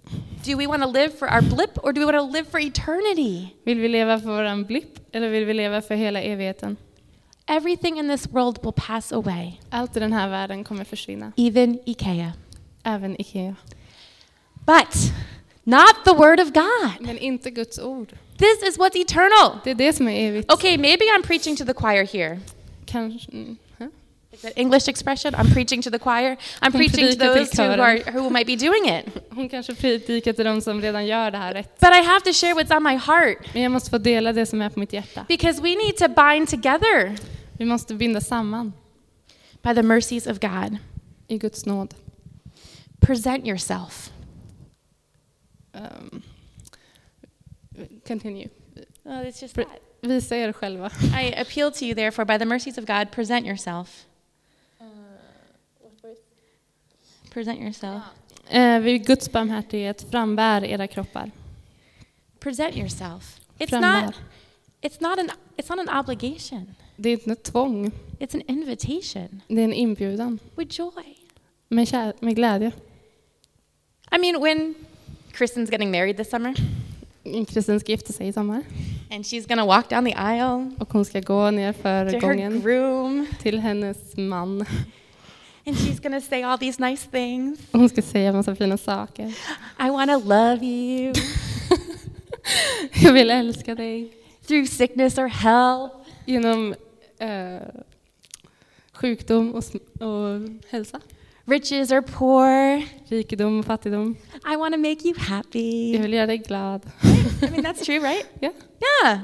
[SPEAKER 2] Do we want to live for our blip or do we want to live for eternity?
[SPEAKER 1] Vill vi leva för våran blipp eller vill vi leva för hela evigheten?
[SPEAKER 2] Everything in this world will pass away,
[SPEAKER 1] Allt i den här världen kommer försvinna,
[SPEAKER 2] even IKEA.
[SPEAKER 1] även Ikea.
[SPEAKER 2] But not the Word of God.
[SPEAKER 1] Men inte Guds ord.
[SPEAKER 2] This is what's eternal.
[SPEAKER 1] Det är det som är evigt.
[SPEAKER 2] Okay, maybe I'm preaching to the choir here,
[SPEAKER 1] Kanske, mm, hä?
[SPEAKER 2] It's an English expression. I'm preaching to the choir. I'm preaching to
[SPEAKER 1] predikar till
[SPEAKER 2] those who,
[SPEAKER 1] kören.
[SPEAKER 2] are, who might be doing it.
[SPEAKER 1] Hon kanske predikar till de som redan gör det här rätt.
[SPEAKER 2] But I have to share what's on my heart
[SPEAKER 1] Men jag måste få dela det som är på mitt hjärta.
[SPEAKER 2] because we need to bind together
[SPEAKER 1] Vi måste binda samman
[SPEAKER 2] by the mercies of God.
[SPEAKER 1] i Guds nåd.
[SPEAKER 2] Present yourself.
[SPEAKER 1] Um, continue.
[SPEAKER 2] Well, it's just
[SPEAKER 1] Pre- Visa er själva.
[SPEAKER 2] I appeal to you, therefore, by the mercies of God, present yourself. Present yourself.
[SPEAKER 1] Eh, vid Guds barmhärtighet frambär era kroppar.
[SPEAKER 2] Present yourself. It's
[SPEAKER 1] Frambär.
[SPEAKER 2] not. It's not an. It's not an obligation.
[SPEAKER 1] Det är inte ett tvång,
[SPEAKER 2] It's an invitation
[SPEAKER 1] det är en inbjudan.
[SPEAKER 2] with joy.
[SPEAKER 1] Med, kär- med glädje.
[SPEAKER 2] I mean, when Kristen's getting married this summer,
[SPEAKER 1] Kristin ska gifta sig i sommar
[SPEAKER 2] and she's gonna walk down the aisle
[SPEAKER 1] och hon ska gå ner
[SPEAKER 2] to
[SPEAKER 1] för
[SPEAKER 2] her
[SPEAKER 1] gången
[SPEAKER 2] groom,
[SPEAKER 1] till hennes man.
[SPEAKER 2] and she's gonna say all these nice things.
[SPEAKER 1] Hon ska säga massa fina saker.
[SPEAKER 2] I wanna love you
[SPEAKER 1] Jag vill älska dig.
[SPEAKER 2] through sickness or health,
[SPEAKER 1] Genom eh, sjukdom och, sm- och hälsa.
[SPEAKER 2] riches or poor.
[SPEAKER 1] Rikedom och fattigdom.
[SPEAKER 2] I wanna make you
[SPEAKER 1] Jag
[SPEAKER 2] happy.
[SPEAKER 1] vill göra dig glad.
[SPEAKER 2] I mean, that's true, right?
[SPEAKER 1] Ja.
[SPEAKER 2] Yeah.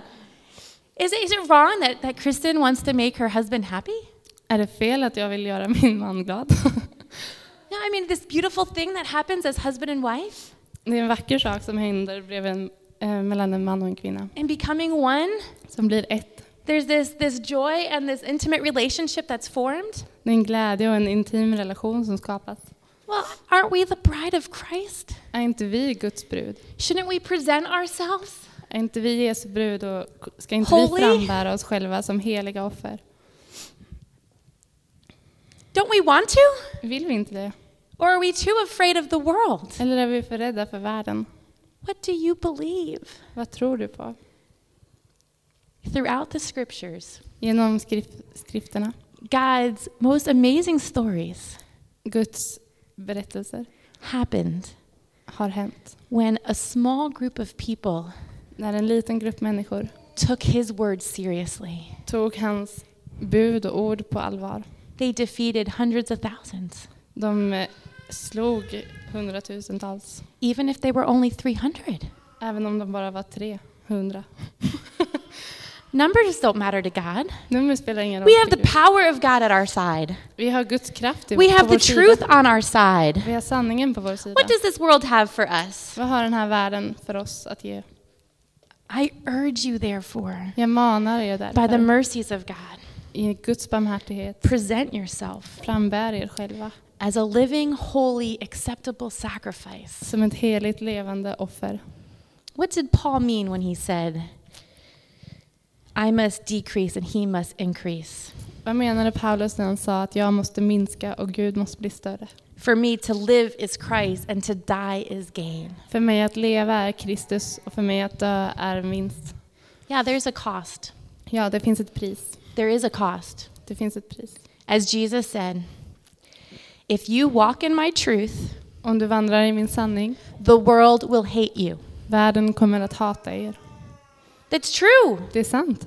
[SPEAKER 2] Is it, is it wrong that, that Kristen wants to make her husband happy?
[SPEAKER 1] Är det fel att jag vill göra min man glad?
[SPEAKER 2] No, I mean, this beautiful thing that happens as husband and wife
[SPEAKER 1] Det är en vacker sak som händer bredvid en, eh, mellan en man och en kvinna.
[SPEAKER 2] and becoming one.
[SPEAKER 1] Som blir ett.
[SPEAKER 2] There's this, this joy and this intimate relationship that's formed.
[SPEAKER 1] Det är en glädje och en intim relation som skapas.
[SPEAKER 2] Well, aren't we the bride of Christ?
[SPEAKER 1] Är inte vi Guds brud?
[SPEAKER 2] Shouldn't we present ourselves?
[SPEAKER 1] Är inte vi Jesu brud och ska inte
[SPEAKER 2] Holy.
[SPEAKER 1] vi frambära oss själva som heliga offer?
[SPEAKER 2] Don't we want to?
[SPEAKER 1] Vill vi inte det?
[SPEAKER 2] Or are we too afraid of the world?
[SPEAKER 1] Eller är vi för rädda för världen?
[SPEAKER 2] What do you believe?
[SPEAKER 1] Vad tror du på?
[SPEAKER 2] Throughout the scriptures,
[SPEAKER 1] Genom skrif- skrifterna,
[SPEAKER 2] God's most amazing stories
[SPEAKER 1] Guds berättelser,
[SPEAKER 2] happened
[SPEAKER 1] har hänt.
[SPEAKER 2] when a small group of people
[SPEAKER 1] När en liten grupp människor
[SPEAKER 2] took his word seriously.
[SPEAKER 1] tog hans bud och ord på allvar.
[SPEAKER 2] They defeated hundreds of thousands,
[SPEAKER 1] De eh, slog hundratusentals,
[SPEAKER 2] even if they were only 300.
[SPEAKER 1] även om de bara var 300.
[SPEAKER 2] Numbers don't matter to God.
[SPEAKER 1] Nummer spelar ingen roll.
[SPEAKER 2] We have
[SPEAKER 1] för
[SPEAKER 2] the
[SPEAKER 1] Gud.
[SPEAKER 2] power of God at our side,
[SPEAKER 1] Vi har Guds kraft i
[SPEAKER 2] we
[SPEAKER 1] på
[SPEAKER 2] have
[SPEAKER 1] vår
[SPEAKER 2] the
[SPEAKER 1] sida.
[SPEAKER 2] truth on our side.
[SPEAKER 1] Vi har sanningen på vår sida.
[SPEAKER 2] What does this world have for us?
[SPEAKER 1] Vad har den här världen för oss att ge?
[SPEAKER 2] I urge you, therefore,
[SPEAKER 1] Jag manar er
[SPEAKER 2] by the
[SPEAKER 1] därför,
[SPEAKER 2] mercies of God,
[SPEAKER 1] i Guds barmhärtighet,
[SPEAKER 2] present yourself
[SPEAKER 1] frambär er själva
[SPEAKER 2] as a living, holy, acceptable sacrifice.
[SPEAKER 1] som ett heligt levande offer.
[SPEAKER 2] What did Paul mean when he said, I must decrease and he must increase?
[SPEAKER 1] Vad menade Paulus när han sa att jag måste minska och Gud måste bli större?
[SPEAKER 2] For me to live is Christ and to die is gain.
[SPEAKER 1] För mig att leva är Kristus och för mig att dö är en vinst.
[SPEAKER 2] Yeah, there's a cost.
[SPEAKER 1] Ja, det finns ett pris.
[SPEAKER 2] There is a cost.
[SPEAKER 1] Det finns ett pris.
[SPEAKER 2] As Jesus said, if you walk in my truth,
[SPEAKER 1] Om du vandrar i min sanning,
[SPEAKER 2] the world will hate you.
[SPEAKER 1] världen kommer att hata er.
[SPEAKER 2] That's true.
[SPEAKER 1] Det är sant.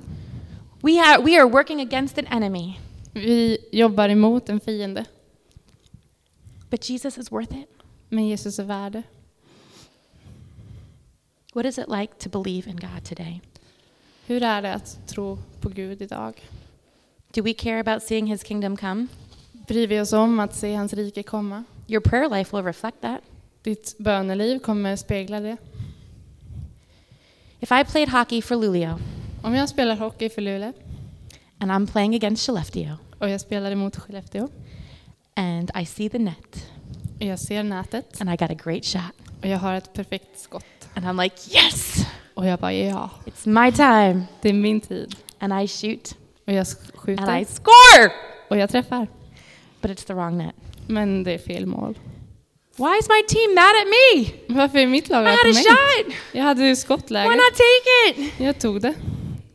[SPEAKER 2] We, have, we are working against an enemy,
[SPEAKER 1] Vi jobbar emot en fiende,
[SPEAKER 2] but Jesus is worth it.
[SPEAKER 1] men Jesus är värd det.
[SPEAKER 2] What is it like to believe in God today?
[SPEAKER 1] Hur är det att tro på Gud idag?
[SPEAKER 2] Do we care about seeing his kingdom come?
[SPEAKER 1] Bryr vi oss om att se hans rike komma?
[SPEAKER 2] Your prayer life will reflect that.
[SPEAKER 1] Ditt böneliv kommer spegla det.
[SPEAKER 2] If I played hockey for Lulio
[SPEAKER 1] Om jag spelar hockey för Luleå
[SPEAKER 2] and I'm playing against Shaleftio
[SPEAKER 1] och jag spelar emot Skellefteå
[SPEAKER 2] and I see the net
[SPEAKER 1] och jag ser nätet
[SPEAKER 2] and I got a great shot
[SPEAKER 1] och jag har ett perfekt skott
[SPEAKER 2] and I'm like, yes,
[SPEAKER 1] och jag bara ja,
[SPEAKER 2] it's my time.
[SPEAKER 1] det är min tid.
[SPEAKER 2] And I shoot
[SPEAKER 1] Och jag sk-
[SPEAKER 2] and
[SPEAKER 1] skjuter
[SPEAKER 2] I score,
[SPEAKER 1] och jag träffar.
[SPEAKER 2] but it's the wrong net.
[SPEAKER 1] Men det är fel mål.
[SPEAKER 2] Why is my team mad at me?
[SPEAKER 1] Men Varför är mitt lag
[SPEAKER 2] I
[SPEAKER 1] arg
[SPEAKER 2] had
[SPEAKER 1] på
[SPEAKER 2] a
[SPEAKER 1] mig?
[SPEAKER 2] shot.
[SPEAKER 1] Jag hade ju
[SPEAKER 2] Why
[SPEAKER 1] skottläge.
[SPEAKER 2] not take it?
[SPEAKER 1] Jag tog det.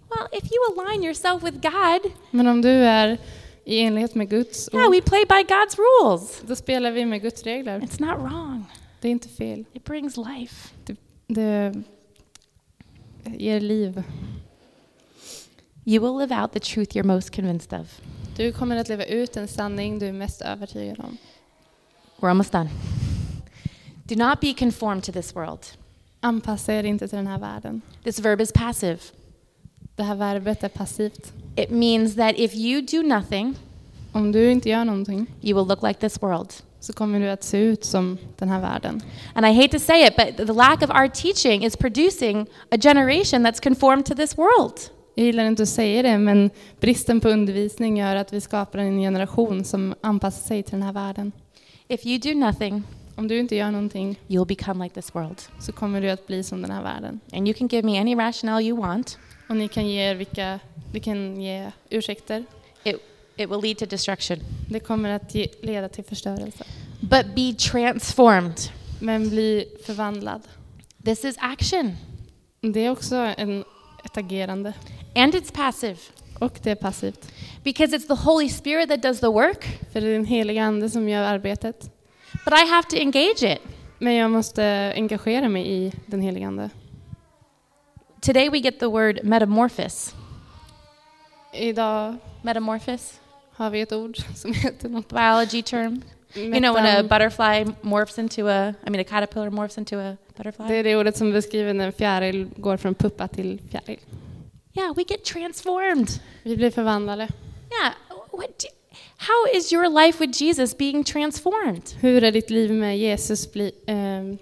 [SPEAKER 2] Well, if you align yourself with God,
[SPEAKER 1] Men om du är i enlighet med Guds
[SPEAKER 2] yeah,
[SPEAKER 1] ord,
[SPEAKER 2] we play by God's rules.
[SPEAKER 1] då spelar vi med Guds regler.
[SPEAKER 2] It's not wrong.
[SPEAKER 1] Det är inte fel.
[SPEAKER 2] It brings life.
[SPEAKER 1] Det, det ger liv.
[SPEAKER 2] You will live out the truth you're most convinced of.
[SPEAKER 1] Du kommer att leva ut en sanning du är mest övertygad om.
[SPEAKER 2] We're almost done. Do not be conformed to this world.
[SPEAKER 1] Anpassa er inte till den här världen.
[SPEAKER 2] This verb is passive.
[SPEAKER 1] Det här verbet är passivt.
[SPEAKER 2] It means that if you do nothing,
[SPEAKER 1] Om du inte gör någonting
[SPEAKER 2] you will look like this world.
[SPEAKER 1] så kommer du att se ut som den här världen.
[SPEAKER 2] And I hate to say it, but the lack of our teaching is producing a generation that's conformed to this world.
[SPEAKER 1] Jag gillar inte att säga det, men bristen på undervisning gör att vi skapar en generation som anpassar sig till den här världen.
[SPEAKER 2] If you do nothing,
[SPEAKER 1] Om du inte gör någonting
[SPEAKER 2] you'll become like this world.
[SPEAKER 1] så kommer du att bli som den här världen.
[SPEAKER 2] And you can give me any rationale you want.
[SPEAKER 1] Och ni kan ge er vilka, ni kan ge ursäkter.
[SPEAKER 2] It, it will lead to destruction.
[SPEAKER 1] Det kommer att ge, leda till förstörelse.
[SPEAKER 2] But be transformed.
[SPEAKER 1] Men bli förvandlad.
[SPEAKER 2] This is action,
[SPEAKER 1] Det är också en, ett agerande.
[SPEAKER 2] and it's passive
[SPEAKER 1] Och det är passivt.
[SPEAKER 2] because it's the Holy Spirit that does the work,
[SPEAKER 1] För det är den heliga ande som gör arbetet.
[SPEAKER 2] but I have to engage it.
[SPEAKER 1] Men jag måste engagera mig i den heliga ande.
[SPEAKER 2] Today we get the word metamorphosis.
[SPEAKER 1] Idag
[SPEAKER 2] Metamorphosis,
[SPEAKER 1] har vi ett ord som heter något.
[SPEAKER 2] biology term. um, You know when a
[SPEAKER 1] Metam-
[SPEAKER 2] butterfly morphs into a, I mean a caterpillar morphs into a butterfly.
[SPEAKER 1] Det är det ordet som beskriver när en fjäril går från puppa till fjäril.
[SPEAKER 2] yeah, we get transformed.
[SPEAKER 1] Vi blir förvandlade.
[SPEAKER 2] Yeah. What? Do, how is your life with Jesus being transformed?
[SPEAKER 1] Hur är ditt liv med Jesus? Bli, ehm,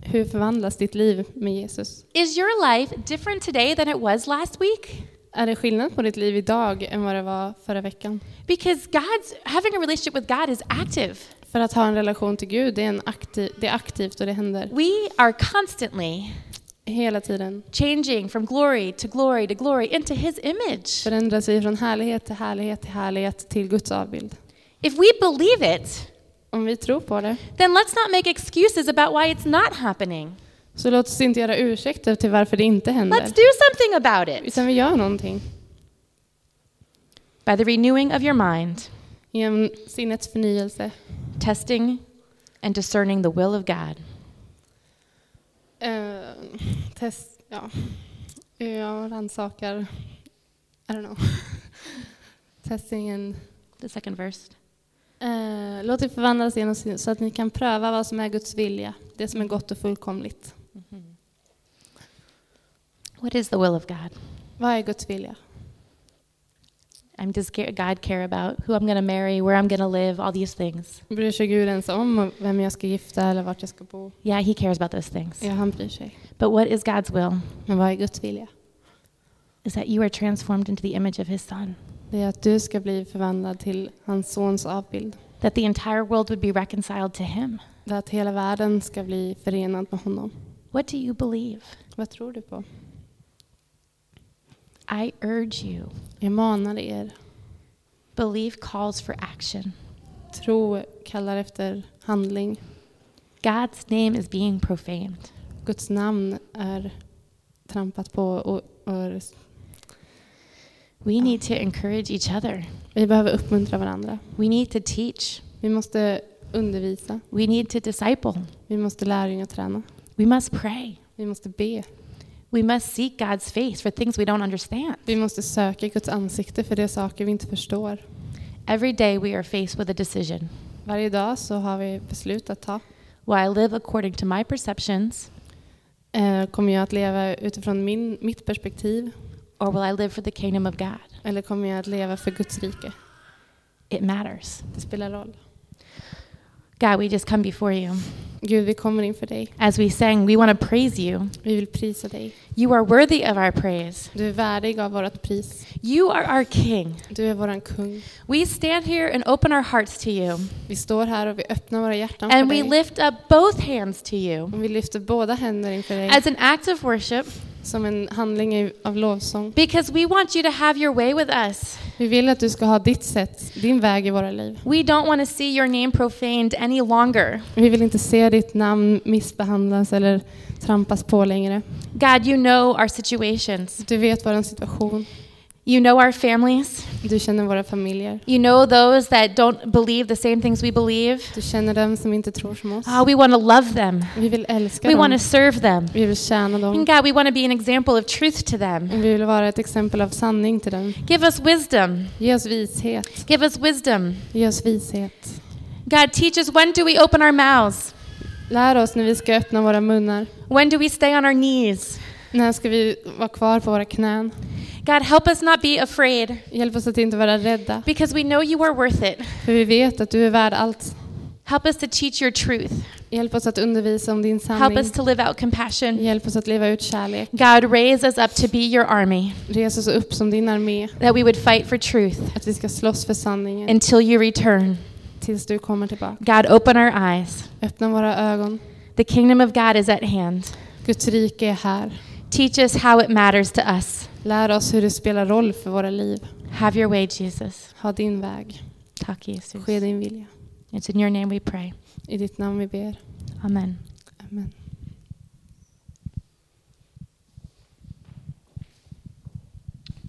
[SPEAKER 1] hur förvandlas ditt liv med Jesus?
[SPEAKER 2] Is your life different today than it was last week?
[SPEAKER 1] Är det skillnad på ditt liv idag än vad det var förra veckan?
[SPEAKER 2] Because God's having a relationship with God is active.
[SPEAKER 1] För att ha en relation till Gud, det är, en aktiv, det är aktivt och det händer
[SPEAKER 2] We are constantly
[SPEAKER 1] hela tiden.
[SPEAKER 2] changing from glory to glory to glory into His image.
[SPEAKER 1] Förändras vi från härlighet till härlighet till härlighet till Guds avbild.
[SPEAKER 2] If we believe it,
[SPEAKER 1] Om vi tror på det,
[SPEAKER 2] then let's not make excuses about why it's not happening.
[SPEAKER 1] så låt oss inte göra ursäkter till varför det inte händer.
[SPEAKER 2] Let's do something about it.
[SPEAKER 1] Utan vi gör någonting.
[SPEAKER 2] By the renewing of your mind,
[SPEAKER 1] Genom sinnets förnyelse.
[SPEAKER 2] testing and discerning the will of God.
[SPEAKER 1] Eh, test, ja. Jag rannsakar, I don't know. Testingen.
[SPEAKER 2] The second verse.
[SPEAKER 1] Eh, låt er förvandlas genom sin, så att ni kan pröva vad som är Guds vilja, det som är gott och fullkomligt.
[SPEAKER 2] What is the will of God?
[SPEAKER 1] Vad är Guds vilja?
[SPEAKER 2] I'm does ca- God care about who I'm going to marry, where I'm going to live, all these things?
[SPEAKER 1] Bryr sig Gud ens om vem jag ska gifta eller vart jag ska bo?
[SPEAKER 2] Yeah, He cares about those things.
[SPEAKER 1] Ja, han bryr sig.
[SPEAKER 2] But what is God's will?
[SPEAKER 1] Men vad är Guds vilja?
[SPEAKER 2] Is that you are transformed into the image of His Son,
[SPEAKER 1] Det är att du ska bli förvandlad till hans sons avbild.
[SPEAKER 2] that the entire world would be reconciled to Him.
[SPEAKER 1] Det är att hela världen ska bli förenad med honom.
[SPEAKER 2] What do you believe?
[SPEAKER 1] Vad tror du på?
[SPEAKER 2] I urge you.
[SPEAKER 1] Jag manar er.
[SPEAKER 2] Belief calls for action.
[SPEAKER 1] Tro kallar efter handling.
[SPEAKER 2] God's name is being profaned.
[SPEAKER 1] Guds namn är trampat på och, och
[SPEAKER 2] We need to encourage each other.
[SPEAKER 1] vi behöver uppmuntra varandra.
[SPEAKER 2] We need to teach.
[SPEAKER 1] Vi måste undervisa.
[SPEAKER 2] We need to disciple.
[SPEAKER 1] Vi måste lärjungaträna.
[SPEAKER 2] We must pray.
[SPEAKER 1] Vi måste be.
[SPEAKER 2] We must seek God's face for things we don't understand.
[SPEAKER 1] Vi måste söka Guds ansikte för det är saker vi inte förstår.
[SPEAKER 2] Every day we are faced with a decision.
[SPEAKER 1] Varje dag så har vi beslut att ta.
[SPEAKER 2] Will I live according to my perceptions
[SPEAKER 1] Eh, Kommer jag att leva utifrån min, mitt perspektiv
[SPEAKER 2] or will I live for the kingdom of God?
[SPEAKER 1] eller kommer jag att leva för Guds rike?
[SPEAKER 2] It matters.
[SPEAKER 1] Det spelar roll.
[SPEAKER 2] God, we just come before you.
[SPEAKER 1] Gud, vi kommer inför dig.
[SPEAKER 2] As we sang, we want to praise you.
[SPEAKER 1] Vi vill prisa dig.
[SPEAKER 2] You are worthy of our praise.
[SPEAKER 1] Du är värdig av vårt pris.
[SPEAKER 2] You are our King.
[SPEAKER 1] Du är våran kung.
[SPEAKER 2] We stand here and open our hearts to you,
[SPEAKER 1] Vi står här och vi öppnar våra hjärtan för
[SPEAKER 2] and we
[SPEAKER 1] dig.
[SPEAKER 2] lift up both hands to you
[SPEAKER 1] Och vi lyfter båda händer inför dig
[SPEAKER 2] as an act of worship
[SPEAKER 1] som en handling i- av lovsång.
[SPEAKER 2] because we want you to have your way with us.
[SPEAKER 1] Vi vill att du ska ha ditt sätt, din väg i våra liv.
[SPEAKER 2] We don't want to see your name profaned any longer.
[SPEAKER 1] Vi vill inte se ditt namn missbehandlas eller trampas på längre.
[SPEAKER 2] God, you know our situations.
[SPEAKER 1] Du vet vår situation.
[SPEAKER 2] You know our families.
[SPEAKER 1] Du känner våra familjer.
[SPEAKER 2] You know those that don't believe the same things we believe.
[SPEAKER 1] Du känner dem som inte tror som oss.
[SPEAKER 2] Ah, we want to love them.
[SPEAKER 1] Vi vill älska
[SPEAKER 2] We want
[SPEAKER 1] dem.
[SPEAKER 2] to serve them.
[SPEAKER 1] Vi vill tjäna
[SPEAKER 2] And
[SPEAKER 1] dem.
[SPEAKER 2] God, we want to be an example of truth to them.
[SPEAKER 1] Vi vill vara ett exempel av sanning till dem.
[SPEAKER 2] Give us wisdom.
[SPEAKER 1] Ge oss vishet.
[SPEAKER 2] Give us wisdom.
[SPEAKER 1] Ge oss vishet.
[SPEAKER 2] God, teach us when do we open our mouths?
[SPEAKER 1] Lär oss när vi ska öppna våra munnar.
[SPEAKER 2] When do we stay on our knees?
[SPEAKER 1] När ska vi vara kvar på våra knän?
[SPEAKER 2] God, help us not be afraid
[SPEAKER 1] Hjälp oss att inte vara rädda.
[SPEAKER 2] because we know you are worth it.
[SPEAKER 1] För vi vet att du är värd allt.
[SPEAKER 2] Help us to teach your truth.
[SPEAKER 1] Hjälp oss att undervisa om din
[SPEAKER 2] Help
[SPEAKER 1] sanning.
[SPEAKER 2] us to live out compassion.
[SPEAKER 1] Hjälp oss att leva ut kärlek.
[SPEAKER 2] God, raise us up to be your army,
[SPEAKER 1] Res oss upp som din armé.
[SPEAKER 2] that we would fight for truth
[SPEAKER 1] Att vi ska slåss för sanningen
[SPEAKER 2] until you return.
[SPEAKER 1] tills du kommer tillbaka.
[SPEAKER 2] God, open our eyes.
[SPEAKER 1] Öppna våra ögon.
[SPEAKER 2] The kingdom of God is at hand.
[SPEAKER 1] Guds rike är här.
[SPEAKER 2] Teach us how it matters to us.
[SPEAKER 1] Lär oss hur det spelar roll för våra liv.
[SPEAKER 2] Have your way, Jesus.
[SPEAKER 1] Ha din väg.
[SPEAKER 2] Talk, Jesus.
[SPEAKER 1] Ske din vilja.
[SPEAKER 2] It's in your name we pray.
[SPEAKER 1] I ditt namn vi ber.
[SPEAKER 2] Amen.
[SPEAKER 1] Amen.